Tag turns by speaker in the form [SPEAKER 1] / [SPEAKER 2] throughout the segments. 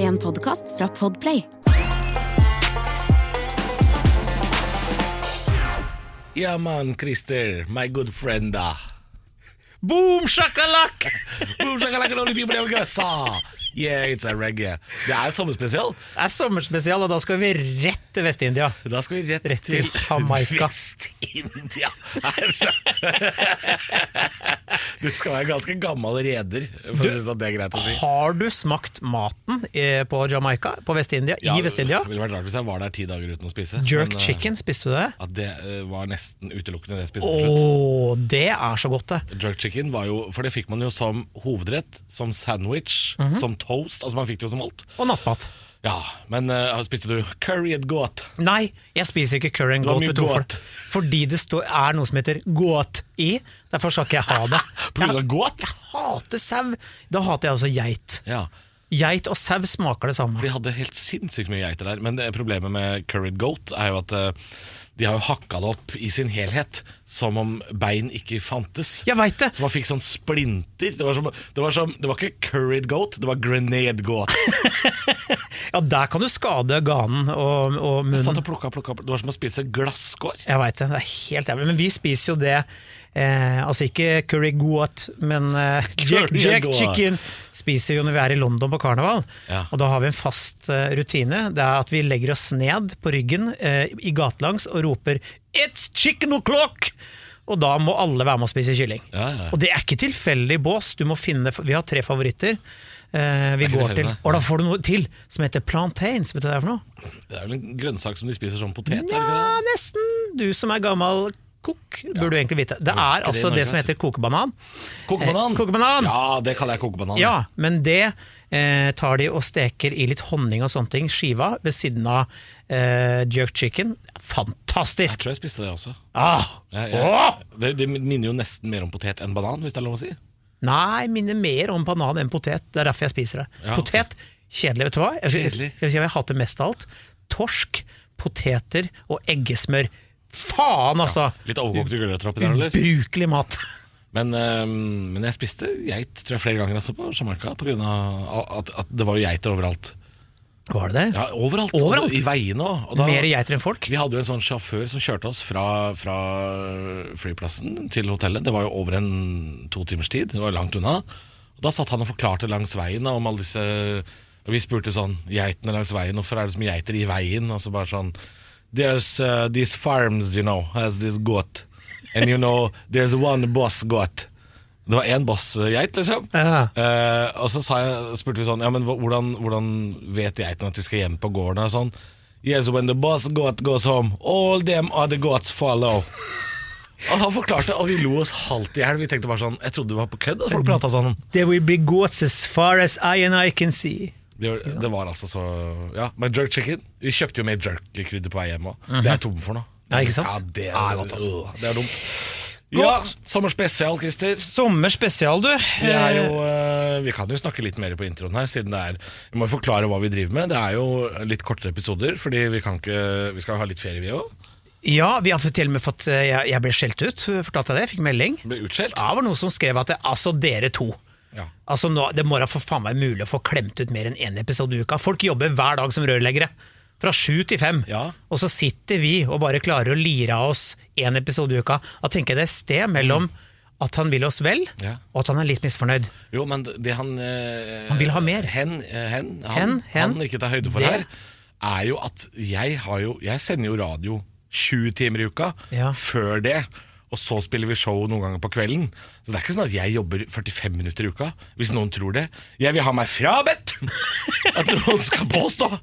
[SPEAKER 1] En podkast fra Podplay.
[SPEAKER 2] Ja, mann, Christer, my good friend, da. Boom shakalak! Boom shakalak and only people in USA! Yeah, it's a reggae. Det er sommerspesial.
[SPEAKER 3] Det er sommerspesial, og da skal vi rett til Vest-India.
[SPEAKER 2] Da skal vi rett,
[SPEAKER 3] Rett til Jamaica.
[SPEAKER 2] Vest-India. Du skal være ganske gammel reder for å synes at det er greit å si.
[SPEAKER 3] Har du smakt maten eh, på Jamaica? På Vest-India?
[SPEAKER 2] Ja,
[SPEAKER 3] I Vest-India?
[SPEAKER 2] Det ville vært rart hvis jeg var der ti dager uten å spise.
[SPEAKER 3] Jerk
[SPEAKER 2] men, eh,
[SPEAKER 3] chicken, spiste du det?
[SPEAKER 2] At det eh, var nesten utelukkende det jeg spiste
[SPEAKER 3] Å,
[SPEAKER 2] til slutt.
[SPEAKER 3] det er så godt, det.
[SPEAKER 2] Jerk chicken var jo For det fikk man jo som hovedrett, som sandwich,
[SPEAKER 3] Mhm.
[SPEAKER 2] som toast. Altså man fikk det jo som alt.
[SPEAKER 3] Og nattmat.
[SPEAKER 2] Ja, men eh, spiste du curry et godt?
[SPEAKER 3] Nei, jeg spiser ikke curry and
[SPEAKER 2] Det var
[SPEAKER 3] goat.
[SPEAKER 2] mye
[SPEAKER 3] vet du hvorfor?
[SPEAKER 2] goat.
[SPEAKER 3] Fordi det står, er noe som heter goat i. Derfor skal ikke jeg ha det.
[SPEAKER 2] På grunn av godt?
[SPEAKER 3] Jeg hater sau. Da hater jeg også geit.
[SPEAKER 2] Ja.
[SPEAKER 3] Geit og sau smaker det samme.
[SPEAKER 2] De hadde helt sinnssykt mye geiter der. Men det problemet med curried goat er jo at eh, de har jo hakka det opp i sin helhet, som om bein ikke fantes.
[SPEAKER 3] Jeg veit det!
[SPEAKER 2] Så man fikk sånn splinter. Det var, som, det, var som, det var ikke curried goat, det var grenade goat.
[SPEAKER 3] Ja, der kan du skade ganen og, og
[SPEAKER 2] Jeg
[SPEAKER 3] munnen.
[SPEAKER 2] satt og plukka, plukka, plukka. Det var som å spise glasskår.
[SPEAKER 3] Jeg veit det. Det er helt jævlig. Men vi spiser jo det eh, Altså ikke curry goat, men eh, jack,
[SPEAKER 2] Curry
[SPEAKER 3] jack
[SPEAKER 2] goat.
[SPEAKER 3] chicken spiser vi jo når vi er i London på karneval.
[SPEAKER 2] Ja.
[SPEAKER 3] Og da har vi en fast eh, rutine. Det er at vi legger oss ned på ryggen eh, i gatelangs og roper 'It's chicken o'clock!' Og da må alle være med og spise kylling.
[SPEAKER 2] Ja, ja.
[SPEAKER 3] Og det er ikke tilfeldig bås. Du må finne, vi har tre favoritter. Eh,
[SPEAKER 2] Det er
[SPEAKER 3] vi
[SPEAKER 2] ikke
[SPEAKER 3] går til,
[SPEAKER 2] tilfeldig,
[SPEAKER 3] og da får du noe til som heter plantains. Vet du hva det er for noe?
[SPEAKER 2] Det er vel en grønnsak som de spiser som potet? er det ikke det?
[SPEAKER 3] Ja, nesten. Du som er gammel kokk, burde du egentlig vite. Det
[SPEAKER 2] Bruker
[SPEAKER 3] er
[SPEAKER 2] det i
[SPEAKER 3] altså
[SPEAKER 2] Norge,
[SPEAKER 3] det som
[SPEAKER 2] vet du.
[SPEAKER 3] heter kokebanan.
[SPEAKER 2] Kokebanan.
[SPEAKER 3] Eh, kokebanan.
[SPEAKER 2] Ja, det kaller jeg kokebanan.
[SPEAKER 3] Ja, men det eh, tar de og steker i litt honning og sånne ting. Skiva ved siden av eh, jerk chicken.
[SPEAKER 2] Jeg
[SPEAKER 3] Fantastisk!
[SPEAKER 2] tror jeg spiste det også.
[SPEAKER 3] Ah!
[SPEAKER 2] Jeg,
[SPEAKER 3] Åh!
[SPEAKER 2] jeg, det, det minner jo nesten mer om potet enn banan, hvis det er lov å si.
[SPEAKER 3] Nei, minner mer om banan enn potet. Det er derfor jeg spiser det.
[SPEAKER 2] Ja,
[SPEAKER 3] potet, kjedelig, vet du hva? Jeg, jeg,
[SPEAKER 2] Kjedelig.
[SPEAKER 3] jeg, jeg, jeg hater mest av alt. Torsk, poteter og eggesmør. Faen, altså!
[SPEAKER 2] Litt overkokte gulrøtter oppi der, eller?
[SPEAKER 3] Ubrukelig mat.
[SPEAKER 2] Men, øhm, men jeg spiste geit tror jeg, flere ganger også på Jamaica, på grunn av at, at det var jo geiter overalt.
[SPEAKER 3] Var det det?
[SPEAKER 2] Ja, overalt.
[SPEAKER 3] Overalt?
[SPEAKER 2] Og I veiene òg.
[SPEAKER 3] Mer geiter enn folk?
[SPEAKER 2] Vi hadde jo en sånn sjåfør som kjørte oss fra, fra flyplassen til hotellet. Det var jo over en to timers tid, det var jo langt unna. Og da satt han og forklarte langs veien da, om alle disse og Vi spurte sånn Geitene langs veien, hvorfor er det så mye geiter i veien? Og så bare sånn There's uh, these farms, you know, has this goat. And you know, there's one boss goat. Det var én bossgeit, liksom.
[SPEAKER 3] Ja.
[SPEAKER 2] Eh, og så sa jeg, spurte vi sånn Ja, men hva- hvordan, hvordan vet geitene at de skal hjem på gården? Og sånn Yes, when the boss goat goes home, all them other goats follow. Og han forklarte, og vi lo oss halvt i hjel. Vi tenkte bare sånn Jeg trodde det var på kødd at folk prata sånn.
[SPEAKER 3] There will be goats as far as I and I can see.
[SPEAKER 2] Det var, det var altså så Ja, men jerk chicken Vi kjøpte jo mer jerky-krydder på vei hjem òg. Det er jeg tom for nå.
[SPEAKER 3] Ja, Mhm. ikke sant?
[SPEAKER 2] Ja, det,
[SPEAKER 3] Ja,
[SPEAKER 2] er,
[SPEAKER 3] det er godt, altså.
[SPEAKER 2] øh, det er dumt. Ja, sommerspesial, Christer.
[SPEAKER 3] Sommerspesial, du.
[SPEAKER 2] Det er jo, eh, vi kan jo snakke litt mer på introen her, siden det er Vi må jo forklare hva vi driver med. Det er jo litt kortere episoder, fordi vi kan ikke Vi skal ha litt ferie, vi òg.
[SPEAKER 3] Ja, vi har fått- til og med fått eh, Jeg, jeg ble skjelt ut, eh, fortalte jeg det? Jeg fikk melding.
[SPEAKER 2] Ble utskjelt.
[SPEAKER 3] Ja, det var noen som skrev at det, altså, dere to.
[SPEAKER 2] Ja.
[SPEAKER 3] Altså, nå, det må da for faen meg mulig å få klemt ut mer enn én episode i uka. Folk jobber hver dag som rørleggere. Fra sju til fem.
[SPEAKER 2] Ja.
[SPEAKER 3] Og så sitter vi og bare klarer å lire av oss én episode i uka. Da tenker jeg det er et sted mellom at han vil oss vel,
[SPEAKER 2] Ja.
[SPEAKER 3] og at han er litt misfornøyd.
[SPEAKER 2] Jo, men det han eh,
[SPEAKER 3] Han vil ha mer.
[SPEAKER 2] Hen, eh, hen, han,
[SPEAKER 3] Hen, hen.
[SPEAKER 2] han ikke tar høyde for
[SPEAKER 3] Det.
[SPEAKER 2] her, er jo at jeg har jo Jeg sender jo radio 20 timer i uka
[SPEAKER 3] Ja.
[SPEAKER 2] før det. Og så spiller vi show noen ganger på kvelden. Så det er ikke sånn at jeg jobber 45 minutter i uka, hvis noen tror det. Jeg vil ha meg frabedt at noen skal påstå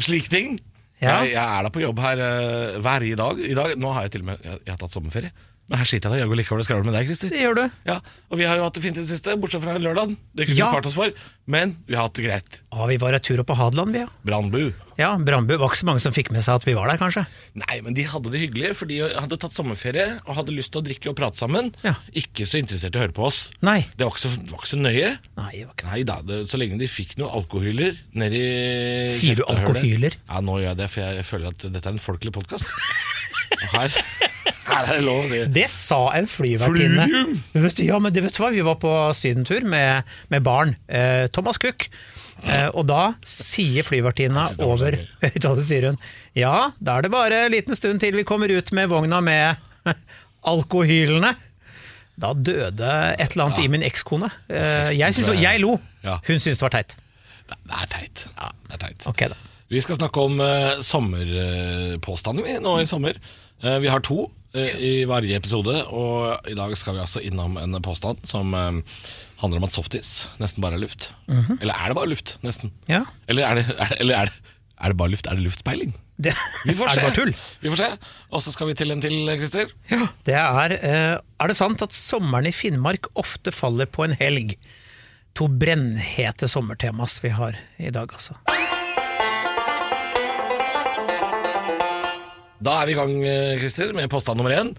[SPEAKER 2] slike ting.
[SPEAKER 3] Ja.
[SPEAKER 2] Jeg, jeg er da på jobb her eh, hver i dag. I dag. Nå har jeg til og med jeg, jeg har tatt sommerferie. Men her sitter jeg da jaggu likevel og skravler med deg, Christer.
[SPEAKER 3] Det gjør du.
[SPEAKER 2] Ja, og vi har jo hatt det fint i det siste, bortsett fra lørdag. Det kunne
[SPEAKER 3] Ja.
[SPEAKER 2] vi spart oss for, men vi har hatt det greit.
[SPEAKER 3] Ja, vi var en tur opp på Hadeland, vi, ja.
[SPEAKER 2] Brannbu.
[SPEAKER 3] Ja, Brandbu var ikke så mange som fikk med seg at vi var der, kanskje.
[SPEAKER 2] Nei, men de hadde det hyggelig, for de hadde tatt sommerferie og hadde lyst til å drikke og prate sammen.
[SPEAKER 3] Ja.
[SPEAKER 2] Ikke så interessert i å høre på oss.
[SPEAKER 3] Nei.
[SPEAKER 2] Det var ikke så, det var ikke så nøye.
[SPEAKER 3] Nei, det var ikke det.
[SPEAKER 2] Nei da, det, så lenge de fikk noen alkohyler nedi
[SPEAKER 3] Sier du
[SPEAKER 2] kjeftehølet.
[SPEAKER 3] alkohyler?
[SPEAKER 2] Ja, nå gjør jeg det, for jeg, jeg føler at dette er en folkelig podkast. Her, her er det lov å si.
[SPEAKER 3] Det sa en flyvertinne.
[SPEAKER 2] Flugium!
[SPEAKER 3] Vet du- Ja, men det vet du hva, vi var på sydentur med, med barn. Eh, Thomas Cook. Eh, og da sier flyvertinna
[SPEAKER 2] Jeg synes det var
[SPEAKER 3] over
[SPEAKER 2] så
[SPEAKER 3] høyttaler, sier hun Ja, da er det bare en liten stund til vi kommer ut med vogna med alkohylene. Da døde et eller annet i min ekskone. Eh,
[SPEAKER 2] Festen,
[SPEAKER 3] jeg, synes,
[SPEAKER 2] tror jeg.
[SPEAKER 3] jeg lo.
[SPEAKER 2] Ja.
[SPEAKER 3] Hun syntes det var teit.
[SPEAKER 2] Det det er teit. Det er teit.
[SPEAKER 3] Ok, da.
[SPEAKER 2] Vi skal snakke om uh, sommerpåstander vi nå i sommer. Eh, vi har to eh, i hver episode, og i dag skal vi altså innom en påstand som eh, handler om at softis nesten bare er luft.
[SPEAKER 3] Mhm.
[SPEAKER 2] Eller er det bare luft, nesten?
[SPEAKER 3] Ja.
[SPEAKER 2] Eller er det, er det, eller er det, er det bare luft? Er det luftspeiling?
[SPEAKER 3] Det,
[SPEAKER 2] Vi får
[SPEAKER 3] er
[SPEAKER 2] se.
[SPEAKER 3] det bare tull?
[SPEAKER 2] Vi får se. Og så skal vi til en til, Christer.
[SPEAKER 3] Det er, eh, er det sant at sommeren i Finnmark ofte faller på en helg? To brennhete sommertemas vi har i dag, altså.
[SPEAKER 2] Da er vi i gang, eh, Christer, med påstand nummer én.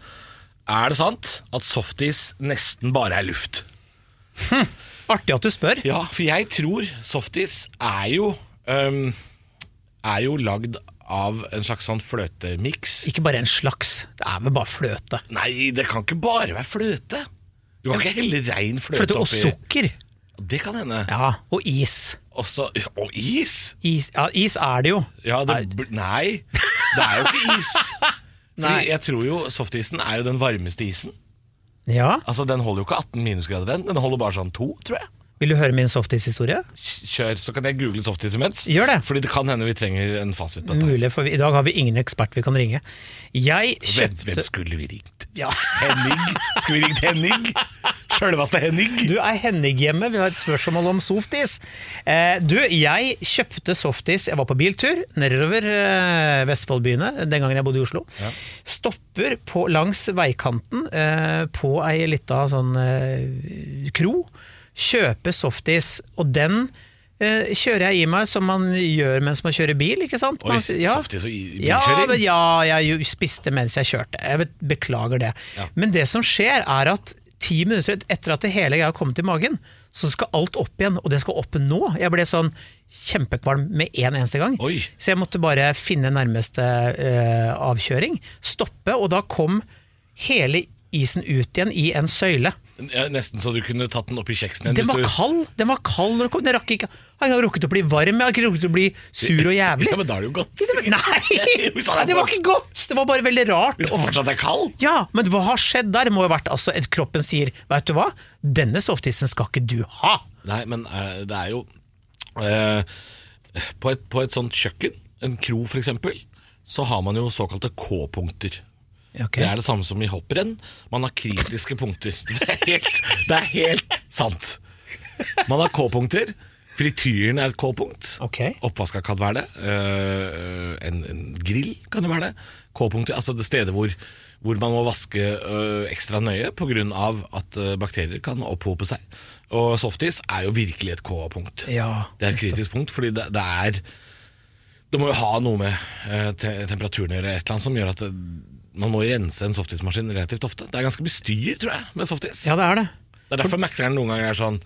[SPEAKER 2] Er det sant at softis nesten bare er luft?
[SPEAKER 3] Artig at du spør.
[SPEAKER 2] Ja, for jeg tror softis er jo øhm, Er jo lagd av en slags sånn fløtemiks.
[SPEAKER 3] Ikke bare en slags, det er vel bare fløte.
[SPEAKER 2] Nei, det kan ikke bare være fløte. Du kan ikke helle rein fløte,
[SPEAKER 3] Fløte og
[SPEAKER 2] oppi
[SPEAKER 3] sukker.
[SPEAKER 2] Det kan hende.
[SPEAKER 3] Ja, og is.
[SPEAKER 2] Også, og is!
[SPEAKER 3] Is, ja, is er det jo.
[SPEAKER 2] Ja, det, bl- nei, det er jo ikke is.
[SPEAKER 3] Nei.
[SPEAKER 2] Fordi jeg tror jo softisen er jo den varmeste isen.
[SPEAKER 3] Ja,
[SPEAKER 2] Altså Den holder jo ikke 18 minusgrader, den. Den holder bare sånn to, tror jeg.
[SPEAKER 3] Vil du høre min softis-historie?
[SPEAKER 2] Kjør, så kan jeg google softis imens.
[SPEAKER 3] Gjør det. Mm.
[SPEAKER 2] Fordi det kan hende vi trenger en fasit på dette.
[SPEAKER 3] Mulig, for vi, I dag har vi ingen ekspert vi kan ringe. Jeg
[SPEAKER 2] Hvem, hvem
[SPEAKER 3] kjøpte
[SPEAKER 2] skulle vi ringt?
[SPEAKER 3] ja.
[SPEAKER 2] Henning? Skal vi ringe til Henning? Sjølveste Henning?
[SPEAKER 3] Du er Henning hjemme, vi har et spørsmål om softis. Eh, du, jeg kjøpte softis, jeg var på biltur nedover eh, Vestfoldbyene, den gangen jeg bodde i Oslo. Stopper på, langs veikanten eh, på ei lita sånn eh, kro, kjøper softis, og den eh, kjører jeg i meg som man gjør mens man kjører bil, ikke sant?
[SPEAKER 2] Oi,
[SPEAKER 3] Man- ja.
[SPEAKER 2] softis og i-
[SPEAKER 3] Ja,
[SPEAKER 2] bilkjøring.
[SPEAKER 3] men ja, jeg jo spiste mens jeg kjørte. Jeg be- beklager det. Men det som skjer, er at ti minutter etter at det hele greia har kommet i magen, så skal alt opp igjen, og det skal opp nå. Jeg ble sånn kjempekvalm med en eneste gang.
[SPEAKER 2] Oi.
[SPEAKER 3] Så jeg måtte bare finne nærmeste eh, avkjøring, stoppe, og da kom hele isen ut igjen i en søyle.
[SPEAKER 2] Ja, Nesten så du kunne tatt den oppi kjeksen igjen.
[SPEAKER 3] Den
[SPEAKER 2] hvis
[SPEAKER 3] var
[SPEAKER 2] du-
[SPEAKER 3] kald, den var kald når den kom. Den rakk ikke Jeg har ikke rukket å bli varm, jeg har ikke rukket å bli sur og jævlig.
[SPEAKER 2] Ja, men da er det jo godt.
[SPEAKER 3] Nei, Nei, det var ikke godt! Det var bare veldig rart.
[SPEAKER 2] Hvis den fortsatt er kald?
[SPEAKER 3] Ja, men hva har skjedd der? Det må jo ha vært altså, at kroppen sier Vet du hva, denne softisen skal ikke du ha.
[SPEAKER 2] Nei, men eh, det er jo eh, på, et, på et sånt kjøkken, en kro for eksempel, så har man jo såkalte K-punkter.
[SPEAKER 3] Ok.
[SPEAKER 2] Det er det samme som i hopprenn. Man har kritiske punkter. Det er helt, det er helt sant. Man har K-punkter. Frityren er et K-punkt.
[SPEAKER 3] Ok.
[SPEAKER 2] Oppvaska kan være det. Eh, en, en grill kan jo være det. K-punkter, altså det stedet hvor, hvor man må vaske eh, ekstra nøye pga. at eh, bakterier kan opphope seg. Og softis er jo virkelig et K-punkt.
[SPEAKER 3] Ja,
[SPEAKER 2] det er et kritisk punkt, fordi det, det er Det må jo ha noe med eh, te temperaturen å gjøre, et eller annet som gjør at det, man må rense en softismaskin relativt ofte. Det er ganske mye styr, tror jeg, med softis.
[SPEAKER 3] Ja, det er det.
[SPEAKER 2] Det er derfor mekleren noen ganger er sånn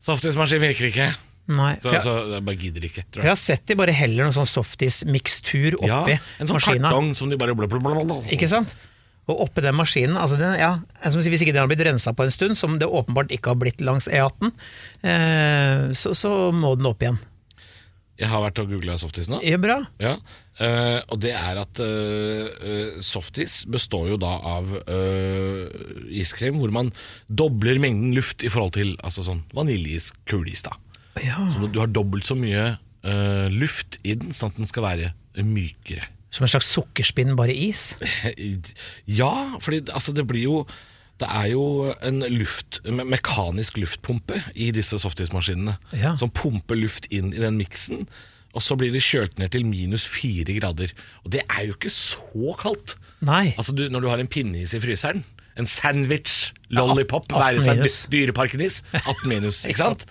[SPEAKER 2] Softismaskin virker ikke.
[SPEAKER 3] Nei.
[SPEAKER 2] Så,
[SPEAKER 3] for jeg,
[SPEAKER 2] så jeg bare gidder ikke, tror jeg.
[SPEAKER 3] for jeg har sett de bare heller noen sånn softis-mikstur oppi
[SPEAKER 2] en sånn
[SPEAKER 3] maskina.
[SPEAKER 2] kartong som de bare blå, blå, blå, blå, blå.
[SPEAKER 3] Ikke sant? Og oppi den maskinen, altså den, ja, som sier, hvis ikke den har blitt rensa på en stund, som det åpenbart ikke har blitt langs E18, eh, så, så må den opp igjen.
[SPEAKER 2] Jeg har vært og googla softis nå.
[SPEAKER 3] Ja, bra.
[SPEAKER 2] Ja. eh, og det er at eh, eh, softis består jo da av eh, iskrem hvor man dobler mengden luft i forhold til altså sånn vaniljeis, kuleis. da
[SPEAKER 3] Ja.
[SPEAKER 2] Så du har dobbelt så mye eh, luft i den, sånn at den skal være mykere.
[SPEAKER 3] Som en slags sukkerspinn, bare is.
[SPEAKER 2] Ja, fordi altså, det blir jo det er jo en luft, me mekanisk luftpumpe i disse softismaskinene
[SPEAKER 3] Ja.
[SPEAKER 2] som pumper luft inn i den miksen, og så blir det kjølt ned til minus fire grader. Og det er jo ikke så kaldt.
[SPEAKER 3] Nei.
[SPEAKER 2] Altså du, Når du har en pinneis i fryseren, en sandwich, lollipop,
[SPEAKER 3] Ja, at-
[SPEAKER 2] være
[SPEAKER 3] 18
[SPEAKER 2] seg dy-
[SPEAKER 3] minus.
[SPEAKER 2] dyreparkenis, 18 minus, ikke sant?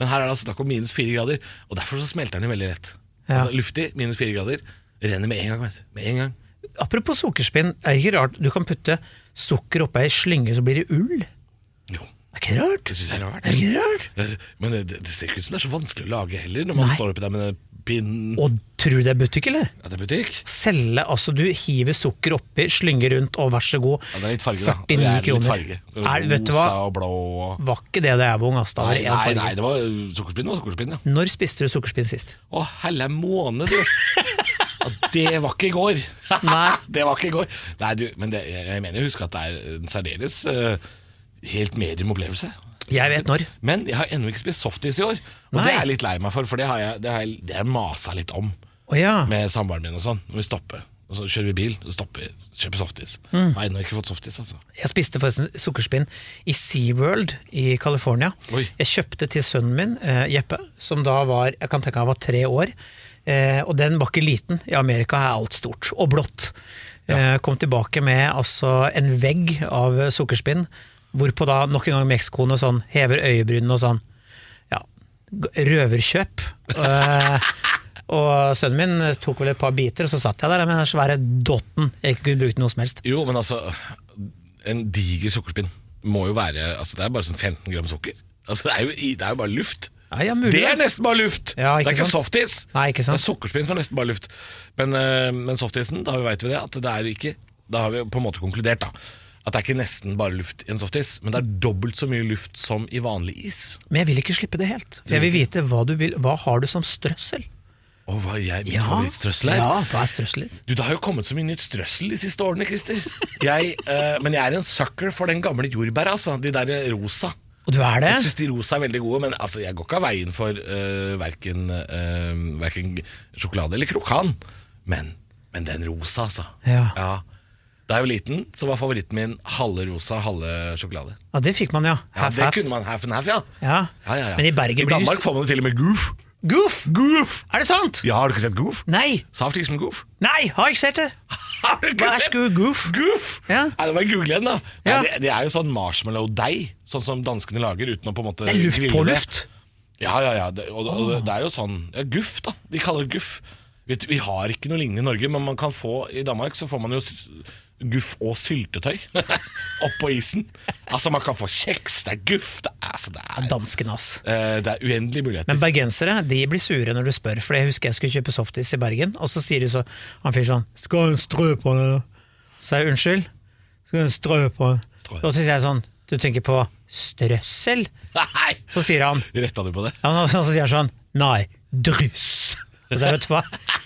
[SPEAKER 2] Men her er det altså snakk om minus fire grader, og derfor så smelter den jo veldig lett.
[SPEAKER 3] Ja.
[SPEAKER 2] Altså, luftig, minus fire grader, renner med en gang. Vet du. Med en gang.
[SPEAKER 3] Apropos sukkerspinn, er det ikke rart du kan putte sukker oppi ei slynge, så blir det ull?
[SPEAKER 2] Jo.
[SPEAKER 3] Er ikke det rart?
[SPEAKER 2] Det synes jeg er rart.
[SPEAKER 3] Er det ikke rart?
[SPEAKER 2] Men det, det ser ikke ut som det er så vanskelig å lage heller, når man
[SPEAKER 3] Nei.
[SPEAKER 2] står oppi der med den pinnen.
[SPEAKER 3] Og Tror du det er butikk, eller?
[SPEAKER 2] Ja, det er butikk.
[SPEAKER 3] Selge, altså du hiver sukker oppi, slynger rundt, og vær så god.
[SPEAKER 2] Ja, det er litt farge, da.
[SPEAKER 3] 49
[SPEAKER 2] det er
[SPEAKER 3] kroner.
[SPEAKER 2] Litt farge. Det er
[SPEAKER 3] Er- vet du hva?
[SPEAKER 2] Rosa og blå og
[SPEAKER 3] Var ikke det da jeg var ung, ass. Da var
[SPEAKER 2] Nei,
[SPEAKER 3] det én
[SPEAKER 2] nei,
[SPEAKER 3] farge.
[SPEAKER 2] nei det var sukkerspinn var sukkerspinn, ja.
[SPEAKER 3] Når spiste du sukkerspinn sist?
[SPEAKER 2] Å, helle måne, du! Ja, det var ikke i går.
[SPEAKER 3] Nei.
[SPEAKER 2] det var ikke i går. Nei, du, men det, jeg jeg mener, husk at det er en særdeles eh, helt medium opplevelse.
[SPEAKER 3] Jeg vet når.
[SPEAKER 2] Men jeg har ennå ikke spist softis i år, og
[SPEAKER 3] Nei.
[SPEAKER 2] det er jeg litt lei meg for, for det har jeg, det har jeg, det har jeg masa litt om
[SPEAKER 3] Å ja.
[SPEAKER 2] med samboeren min og sånn. Når vi stopper, og så kjører vi bil, og stopper, kjøper softis.
[SPEAKER 3] Mm.
[SPEAKER 2] Har jeg ennå ikke fått softis, altså.
[SPEAKER 3] Jeg spiste forresten sukkerspinn i SeaWorld i California.
[SPEAKER 2] Oi.
[SPEAKER 3] Jeg kjøpte til sønnen min, eh, Jeppe, som da var jeg kan tenke han var tre år. Eh, og den var ikke liten. I Amerika er alt stort og blått. Eh, kom tilbake med altså en vegg av eh, sukkerspinn, hvorpå da nok en gang mexicoene sånn hever øyebrynene og sånn. Ja, g- røverkjøp. Eh, og sønnen min tok vel et par biter, og så satt jeg der med den svære dotten jeg ikke kunne brukt til noe som helst.
[SPEAKER 2] Jo, men altså En diger sukkerspinn må jo være Altså Det er bare sånn 15 gram sukker. Altså Det er jo, i- det er jo bare luft.
[SPEAKER 3] Ja, ja, mulig.
[SPEAKER 2] Det er nesten bare luft!
[SPEAKER 3] Ja,
[SPEAKER 2] det
[SPEAKER 3] ikke
[SPEAKER 2] er ikke
[SPEAKER 3] sant?
[SPEAKER 2] softis.
[SPEAKER 3] Nei, ikke sant?
[SPEAKER 2] Det er sukkerspinn som er nesten bare luft. Men, eh, men softisen, da vet vi det. At det er ikke Da har vi på en måte konkludert, da. At det er ikke nesten bare luft i en softis, men det er dobbelt så mye luft som i vanlig is.
[SPEAKER 3] Men jeg vil ikke slippe det helt. For jeg vil vite hva du vil Hva har du som strøssel?
[SPEAKER 2] Og hva jeg min favorittstrøssel er.
[SPEAKER 3] Ja, hva er strøsselet?
[SPEAKER 2] Du, Det har jo kommet så mye nytt strøssel de siste årene, Christer. Jeg, eh, men jeg er en sucker for den gamle jordbæra, altså. De der rosa.
[SPEAKER 3] Og du er det?
[SPEAKER 2] Jeg syns de rosa er veldig gode, men altså, jeg går ikke av veien for uh, verken, eh, verken sjokolade eller krokan. Men, men den rosa, altså.
[SPEAKER 3] Ja.
[SPEAKER 2] Da jeg var liten, så var favoritten min halve rosa, halve sjokolade.
[SPEAKER 3] Ja, det fikk man, ja.
[SPEAKER 2] Ja,
[SPEAKER 3] Half,
[SPEAKER 2] det
[SPEAKER 3] half.
[SPEAKER 2] kunne man half and half, ja.
[SPEAKER 3] Ja.
[SPEAKER 2] Ja, ja, ja.
[SPEAKER 3] Men i Bergen
[SPEAKER 2] I
[SPEAKER 3] blir
[SPEAKER 2] Danmark får man det til og med goof.
[SPEAKER 3] Goof!
[SPEAKER 2] Goof!
[SPEAKER 3] Er det sant?
[SPEAKER 2] Ja, har du ikke sett goof?
[SPEAKER 3] Nei!
[SPEAKER 2] Saft liksom goof.
[SPEAKER 3] Nei, har ikke sett det!
[SPEAKER 2] Har du ikke
[SPEAKER 3] Hva er
[SPEAKER 2] sett?
[SPEAKER 3] sku- goof?
[SPEAKER 2] Goof?
[SPEAKER 3] Ja.
[SPEAKER 2] Nei, det var google den, da. Nei,
[SPEAKER 3] Ja.
[SPEAKER 2] det, det er jo sånn marshmallow-deig, sånn som danskene lager uten å på en måte
[SPEAKER 3] Det er luft
[SPEAKER 2] grille
[SPEAKER 3] på
[SPEAKER 2] det.
[SPEAKER 3] luft.
[SPEAKER 2] Ja, ja, ja. Det, og, det- og det, det er jo sånn ja, Guff, da. De kaller det guff. Vet, du, vi har ikke noe lignende i Norge, men man kan få i Danmark så får man jo s- guff og syltetøy oppå isen. Altså, man kan få kjeks, det er guff Det er, altså, det er,
[SPEAKER 3] Dansken, ass.
[SPEAKER 2] eh, det er uendelige muligheter.
[SPEAKER 3] Men bergensere de blir sure når du spør, for jeg husker jeg skulle kjøpe softis i Bergen, og så sier de så Han fyren sånn 'Skal en strø på den?' da?» Så jeg unnskyld? Skal en strø på den?
[SPEAKER 2] Strø.
[SPEAKER 3] Og så sier jeg sånn Du tenker på strøssel?
[SPEAKER 2] Nei!
[SPEAKER 3] Så sier han
[SPEAKER 2] Retta du på det?
[SPEAKER 3] Ja, men og så sier han sånn Nei, dryss. Og så vet du hva,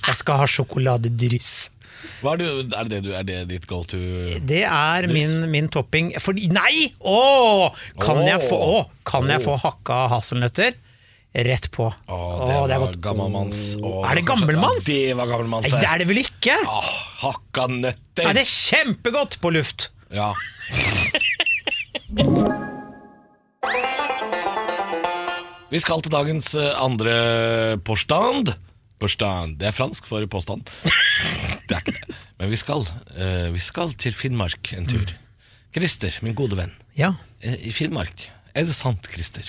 [SPEAKER 3] jeg skal ha sjokoladedryss.
[SPEAKER 2] Hva er, du, er, det du, er det ditt go to
[SPEAKER 3] Det er min, min topping. Fordi Nei! Å! Kan jeg få, å, kan jeg få hakka hasselnøtter? Rett på.
[SPEAKER 2] Å, det,
[SPEAKER 3] Å,
[SPEAKER 2] var
[SPEAKER 3] godt.
[SPEAKER 2] gammelmanns. Å,
[SPEAKER 3] Er
[SPEAKER 2] kanskje-
[SPEAKER 3] det gammelmanns?
[SPEAKER 2] Ja, det var gammelmanns,
[SPEAKER 3] Nei, det
[SPEAKER 2] det.
[SPEAKER 3] er det vel ikke?
[SPEAKER 2] Åh, hakka nøtter.
[SPEAKER 3] Nei, det er kjempegodt på luft.
[SPEAKER 2] Ja. Vi skal til dagens eh, andre påstand. Påstand. Det er fransk for påstand. Det er ikke det. Men vi skal, eh, vi skal til Finnmark en tur. Christer, min gode venn.
[SPEAKER 3] Ja.
[SPEAKER 2] eh, I Finnmark. Er det sant, Christer?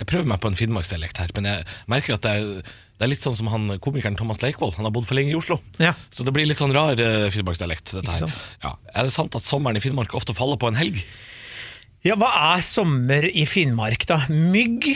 [SPEAKER 2] Jeg prøver meg på en finnmarksdialekt her, men jeg merker at det er, det er litt sånn som han komikeren Thomas Leikvoll. Han har bodd for lenge i Oslo.
[SPEAKER 3] Ja.
[SPEAKER 2] Så det blir litt sånn rar uh, finnmarksdialekt, dette
[SPEAKER 3] Ikke
[SPEAKER 2] her.
[SPEAKER 3] sant?
[SPEAKER 2] Ja. Er det sant at sommeren i Finnmark ofte faller på en helg?
[SPEAKER 3] ja, hva er sommer i Finnmark, da? Mygg,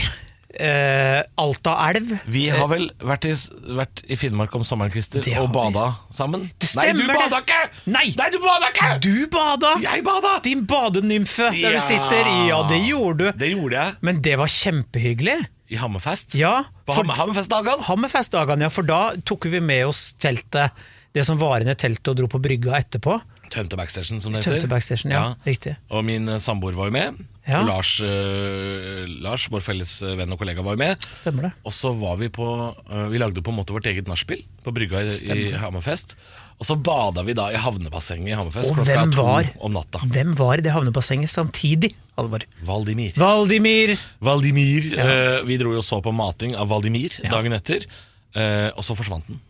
[SPEAKER 3] eh, Altaelv
[SPEAKER 2] Vi har vel vært i, vært i Finnmark om sommeren, Christer,
[SPEAKER 3] Det har
[SPEAKER 2] og
[SPEAKER 3] vi.
[SPEAKER 2] bada sammen?
[SPEAKER 3] Det
[SPEAKER 2] Nei,
[SPEAKER 3] stemmer
[SPEAKER 2] du bada
[SPEAKER 3] det.
[SPEAKER 2] ikke!
[SPEAKER 3] Nei.
[SPEAKER 2] du bada ikke!
[SPEAKER 3] Du bada!
[SPEAKER 2] Jeg bada!
[SPEAKER 3] Din badenymfe der
[SPEAKER 2] Ja.
[SPEAKER 3] du sitter. Ja, det gjorde du.
[SPEAKER 2] Det gjorde jeg
[SPEAKER 3] Men det var kjempehyggelig.
[SPEAKER 2] i Hammerfest.
[SPEAKER 3] Ja,
[SPEAKER 2] På
[SPEAKER 3] for
[SPEAKER 2] Ham Hammerfestdagene.
[SPEAKER 3] Hammerfestdagene, ja, for da tok vi med oss teltet. Det som var igjen i teltet og dro på brygga etterpå.
[SPEAKER 2] Tømte backstagen, som det heter.
[SPEAKER 3] Tømte backstagen, ja. Riktig.
[SPEAKER 2] Og min eh, samboer var jo med.
[SPEAKER 3] Ja.
[SPEAKER 2] Og Lars, eh, Lars, vår felles eh, venn og kollega, var jo med.
[SPEAKER 3] Stemmer det.
[SPEAKER 2] Og så var vi på eh, Vi lagde på en måte vårt eget nachspiel på brygga i, i Hammerfest. Og så bada vi da i havnebassenget i Hammerfest
[SPEAKER 3] Og hvem var,
[SPEAKER 2] om natta.
[SPEAKER 3] hvem var i det havnebassenget samtidig, Halvor?
[SPEAKER 2] Valdimir.
[SPEAKER 3] Valdimir!
[SPEAKER 2] Valdimir eh, Vi dro jo og så på mating av Valdimir dagen etter. eh, og så forsvant den.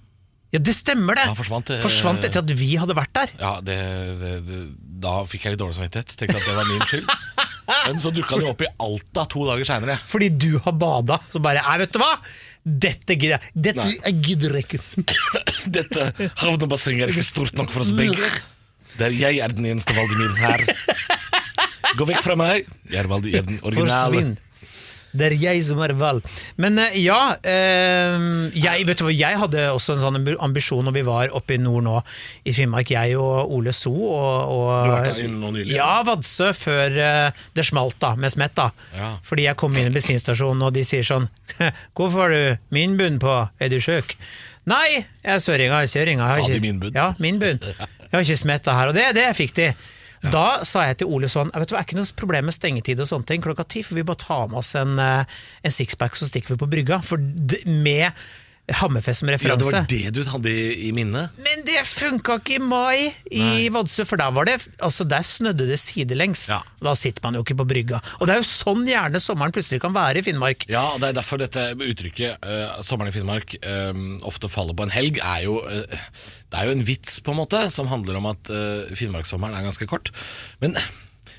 [SPEAKER 3] Ja, det stemmer det!
[SPEAKER 2] Han forsvant, eh,
[SPEAKER 3] Forsvant etter at vi hadde vært der.
[SPEAKER 2] Ja, det, det, det, Da fikk jeg litt dårlig samvittighet. Tenkte at det var min skyld. Men så dukka den jo opp i Alta to dager seinere.
[SPEAKER 3] Fordi du har bada. Så bare Nei, vet du hva! Dette gidder jeg Dette
[SPEAKER 2] Nei.
[SPEAKER 3] jeg gidder jeg ikke.
[SPEAKER 2] Dette havnebassenget er ikke stort nok for oss begge. Der jeg er den eneste Valdimir her. Gå vekk fra meg. Jeg er Valdi- jeg er den originale.
[SPEAKER 3] Forsvinn. Det er jeg som er vel. Men eh, ja, eh, jeg, vet du hva, jeg hadde også en sånn ambi- ambisjon når vi var oppe i nord nå, i Finnmark. Jeg og Ole So og,
[SPEAKER 2] Du
[SPEAKER 3] og
[SPEAKER 2] har vært der nå nylig?
[SPEAKER 3] Ja, Vadsø før eh, det smalt da, med smett da.
[SPEAKER 2] Ja.
[SPEAKER 3] Fordi jeg kom inn i bensinstasjonen og de sier sånn Hvorfor har du min bunn på? Er du sjuk? Nei, jeg er søringa, jeg er søringa. jeg har
[SPEAKER 2] Sa de
[SPEAKER 3] ikke-
[SPEAKER 2] min bunn?
[SPEAKER 3] Ja, min bunn. Jeg har ikke smetta her, og det, det fikk de. Da sa jeg til Ole sånn, vet du hva, er ikke noe problem med stengetid og sånne ting, klokka ti får vi bare ta med oss en, eh, en sixpack, så stikker vi på brygga. For d med Hammerfest som
[SPEAKER 2] Ja, det
[SPEAKER 3] referanse.
[SPEAKER 2] var det du hadde i, i minne?
[SPEAKER 3] Men det funka ikke i mai i Vadsø, for der var det Altså der snødde det sidelengs.
[SPEAKER 2] Ja.
[SPEAKER 3] Og da sitter man jo ikke på brygga. Og det er jo sånn gjerne sommeren plutselig kan være i Finnmark.
[SPEAKER 2] Ja, og det er derfor dette uttrykket eh, 'sommeren i Finnmark' eh, ofte faller på en helg, er jo eh, Det er jo en vits, på en måte, som handler om at eh, finnmarkssommeren er ganske kort. Men,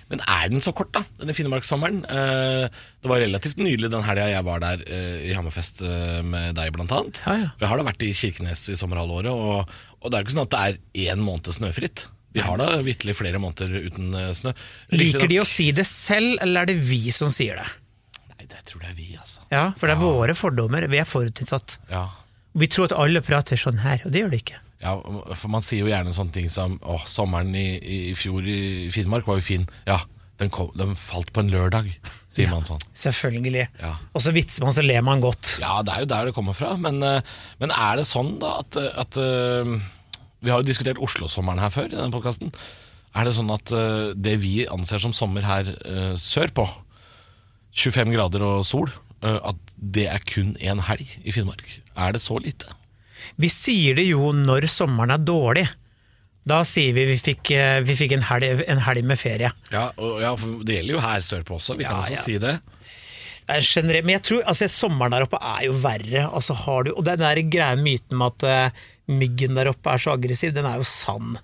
[SPEAKER 2] men er den så kort, da? Denne finnmarkssommeren? Eh, det var relativt nylig den helga jeg var der eh, i Hammerfest eh, med deg, blant annet.
[SPEAKER 3] Ja, ja.
[SPEAKER 2] Og Jeg har da vært i Kirkenes i sommerhalvåret, og, og det er jo ikke sånn at det er én måned snøfritt. De har da vitterlig flere måneder uten eh, snø.
[SPEAKER 3] Liker de
[SPEAKER 2] Riktignok-
[SPEAKER 3] å si det selv, eller er det vi som sier det?
[SPEAKER 2] Nei, det tror jeg er vi, altså.
[SPEAKER 3] Ja, For det er våre fordommer. Vi er forutinntatt.
[SPEAKER 2] Ja,
[SPEAKER 3] Vi tror at alle prater sånn her, og det gjør de ikke.
[SPEAKER 2] Ja, for man sier jo gjerne sånne ting som Å, sommeren i, i, i fjor i Finnmark var jo fin Ja, den, kom, den falt på en lørdag Sier man sånn
[SPEAKER 3] Selvfølgelig.
[SPEAKER 2] Ja.
[SPEAKER 3] Og så vitser man, så ler man godt.
[SPEAKER 2] Ja, det er jo der det kommer fra Men, eh, men er det sånn da at, eh, at eh, Vi har jo diskutert Oslo-sommeren her før I denne podcasten Er det sånn at eh, det vi anser som sommer her eh, sørpå 25 grader og sol eh, At det er kun en helg i Finnmark Er det så lite?
[SPEAKER 3] Vi sier det jo når sommeren er dårlig. Da sier vi vi fikk, eh, vi fikk en, helg, en helg med ferie.
[SPEAKER 2] Ja, og, ja for det gjelder jo her sørpå også Vi kan
[SPEAKER 3] Ja,
[SPEAKER 2] også
[SPEAKER 3] ja.
[SPEAKER 2] si det
[SPEAKER 3] Det er generelt, men jeg tror altså, sommeren der oppe er jo verre. Altså, har du, og den der greia myten med at eh, myggen der oppe er så aggressiv, den er jo sann.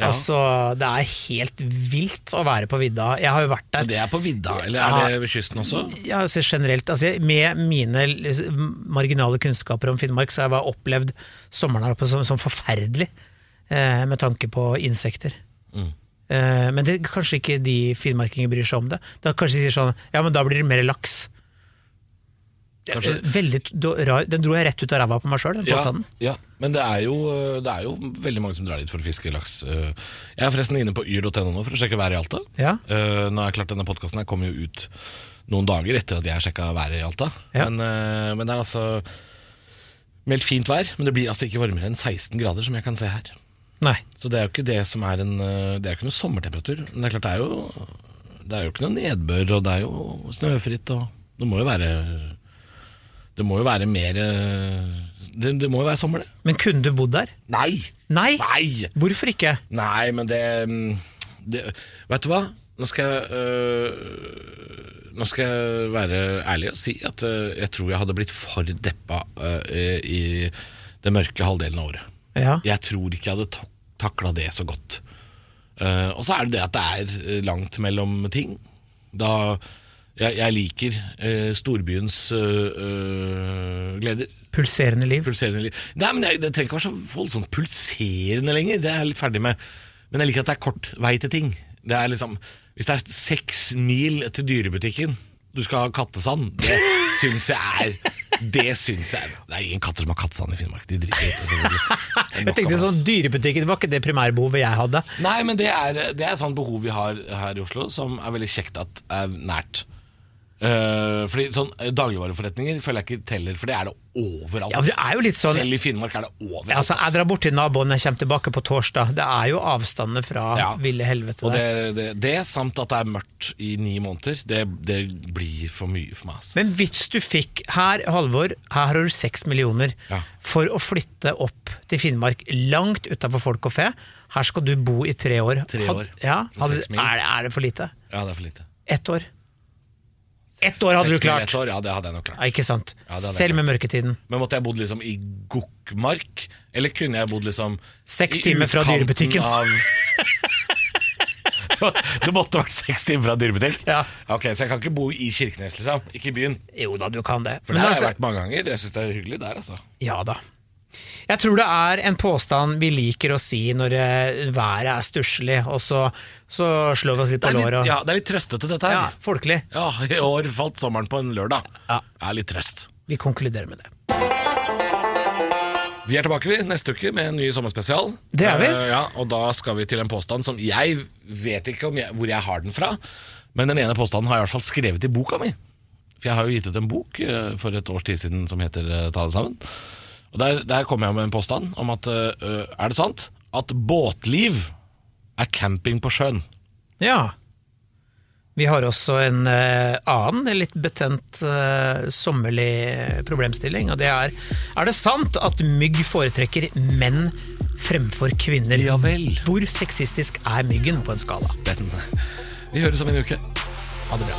[SPEAKER 2] Ja.
[SPEAKER 3] Altså, det er helt vilt å være på vidda. Jeg har jo vært
[SPEAKER 2] Men
[SPEAKER 3] der.
[SPEAKER 2] det er på vidda, eller er det ved kysten også?
[SPEAKER 3] Ja, altså, generelt, altså, med mine l- marginale kunnskaper om Finnmark, så har jeg bare opplevd sommeren der oppe som, som forferdelig, eh, med tanke på insekter. Eh, men det, kanskje ikke de finnmarkinger bryr seg om det. Da kanskje de sier sånn, ja, men da blir det mer laks.
[SPEAKER 2] Kanskje-
[SPEAKER 3] Veldig do- rar, den dro jeg rett ut av ræva på meg sjøl, den
[SPEAKER 2] Ja,
[SPEAKER 3] påstanden.
[SPEAKER 2] ja. Men det er, jo, eh, det er jo veldig mange som drar dit for å fiske laks. Eh, Jeg er forresten inne på yr.no nå for å sjekke været i Alta.
[SPEAKER 3] Ja.
[SPEAKER 2] Eh, Nå er det klart Denne podkasten kommer jo ut noen dager etter at jeg har sjekka været i Alta.
[SPEAKER 3] Ja.
[SPEAKER 2] Men, eh, men det er altså meldt fint vær, men det blir altså ikke varmere enn 16 grader, som jeg kan se her.
[SPEAKER 3] Nei.
[SPEAKER 2] Så det er jo ikke det som er en eh, Det er jo ikke noe sommertemperatur. Men det er klart det er jo Det er jo ikke noe nedbør, og det er jo snøfritt, og det må jo være Det må jo være mer eh, Det, det må jo være sommer, det.
[SPEAKER 3] Men kunne du bodd der?
[SPEAKER 2] Nei!
[SPEAKER 3] Nei!
[SPEAKER 2] Nei!
[SPEAKER 3] Hvorfor ikke?
[SPEAKER 2] Nei, men det, mm, det Vet du hva? Nå skal jeg øh, Nå skal jeg være ærlig og si at øh, jeg tror jeg hadde blitt for deppa øh, i den mørke halvdelen av året.
[SPEAKER 3] Ja.
[SPEAKER 2] Jeg tror ikke jeg hadde tak takla det så godt. Eh, og så er det det at det er eh, langt mellom ting. Da Jeg, jeg liker eh, storbyens eh, eh, gleder.
[SPEAKER 3] Pulserende liv.
[SPEAKER 2] Pulserende liv. Nei, men jeg, Det trenger ikke være så voldsomt pulserende lenger. Det er jeg litt ferdig med. Men jeg liker at det er kort vei til ting. Det er liksom Hvis det er seks mil til dyrebutikken du skal ha kattesand. Det syns jeg er Det syns jeg Det er ingen katter som har kattesand i Finnmark. De driter i det. selvfølgelig. Det er nok
[SPEAKER 3] Jeg
[SPEAKER 2] av
[SPEAKER 3] tenkte
[SPEAKER 2] det,
[SPEAKER 3] sånn
[SPEAKER 2] ass.
[SPEAKER 3] Dyrebutikk det var ikke det primærbehovet jeg hadde.
[SPEAKER 2] Nei, men det er, det er et sånt behov vi har her i Oslo, som er veldig kjekt at er nært. Eh, fordi sånn eh, Dagligvareforretninger føler jeg ikke teller, for det er det overalt.
[SPEAKER 3] Ja, det er jo litt sånn
[SPEAKER 2] Selv i Finnmark er det overalt.
[SPEAKER 3] Altså,
[SPEAKER 2] ass.
[SPEAKER 3] Jeg drar bort til naboen jeg kommer tilbake på torsdag. Det er jo avstandene fra
[SPEAKER 2] Ja.
[SPEAKER 3] ville helvete
[SPEAKER 2] Og
[SPEAKER 3] der.
[SPEAKER 2] det, det, det, samt at det er mørkt i ni måneder, det, det blir for mye for meg. Altså.
[SPEAKER 3] Men hvis du fikk Her, Halvor, her har du seks millioner
[SPEAKER 2] Ja.
[SPEAKER 3] for å flytte opp til Finnmark, langt utafor folk og fe. Her skal du bo i tre år.
[SPEAKER 2] Tre
[SPEAKER 3] Had-
[SPEAKER 2] år.
[SPEAKER 3] Ja,
[SPEAKER 2] For
[SPEAKER 3] hadde,
[SPEAKER 2] seks
[SPEAKER 3] er,
[SPEAKER 2] mil.
[SPEAKER 3] det, er det for lite?
[SPEAKER 2] Ja, det er for lite.
[SPEAKER 3] Ett år. Ett år hadde
[SPEAKER 2] Seks
[SPEAKER 3] du
[SPEAKER 2] mil
[SPEAKER 3] klart.
[SPEAKER 2] et År, ja, det hadde jeg nok klart.
[SPEAKER 3] Ja, ikke sant.
[SPEAKER 2] Ja, det hadde jeg
[SPEAKER 3] Selv med mørketiden.
[SPEAKER 2] Men måtte jeg bodd liksom i Gokmark? Eller kunne jeg bodd liksom
[SPEAKER 3] Seks
[SPEAKER 2] i
[SPEAKER 3] timer fra
[SPEAKER 2] utkanten
[SPEAKER 3] dyrebutikken.
[SPEAKER 2] Av... det måtte vært seks timer fra dyrebutikk?
[SPEAKER 3] Ja.
[SPEAKER 2] Ok, Så jeg kan ikke bo i Kirkenes, liksom? Ikke i byen?
[SPEAKER 3] Jo da, du kan det.
[SPEAKER 2] For
[SPEAKER 3] Men
[SPEAKER 2] der har
[SPEAKER 3] altså-
[SPEAKER 2] jeg vært mange ganger. Jeg syns det er hyggelig der, altså.
[SPEAKER 3] Ja da. Jeg tror det er en påstand vi liker å si når eh, været er stusslig, og så, så slår vi oss litt
[SPEAKER 2] Det
[SPEAKER 3] på
[SPEAKER 2] er litt,
[SPEAKER 3] låret. og-
[SPEAKER 2] ja, det er litt trøstete, dette
[SPEAKER 3] Ja,
[SPEAKER 2] her.
[SPEAKER 3] folkelig.
[SPEAKER 2] Ja. I år falt sommeren på en lørdag. Ja. Det er litt trøst.
[SPEAKER 3] Vi konkluderer med det.
[SPEAKER 2] Vi er tilbake vi, neste uke med en ny sommerspesial.
[SPEAKER 3] Det er vi.
[SPEAKER 2] Eh, ja, og da skal vi til en påstand som jeg vet ikke om jeg, hvor jeg har den fra, men den ene påstanden har jeg i hvert fall skrevet i boka mi. For jeg har jo gitt ut en bok eh, for et års tid siden som heter eh, Ta det sammen. Og der, der kom jeg med en påstand om at eh, er det sant at båtliv er camping på sjøen?
[SPEAKER 3] Ja. Vi har også en eh, annen litt betent eh, sommerlig problemstilling, og det er Er det sant at mygg foretrekker menn fremfor kvinner?
[SPEAKER 2] Ja vel.
[SPEAKER 3] Hvor sexistisk er myggen på en skala?
[SPEAKER 2] Den. Vi høres om en uke.
[SPEAKER 3] Ha det bra.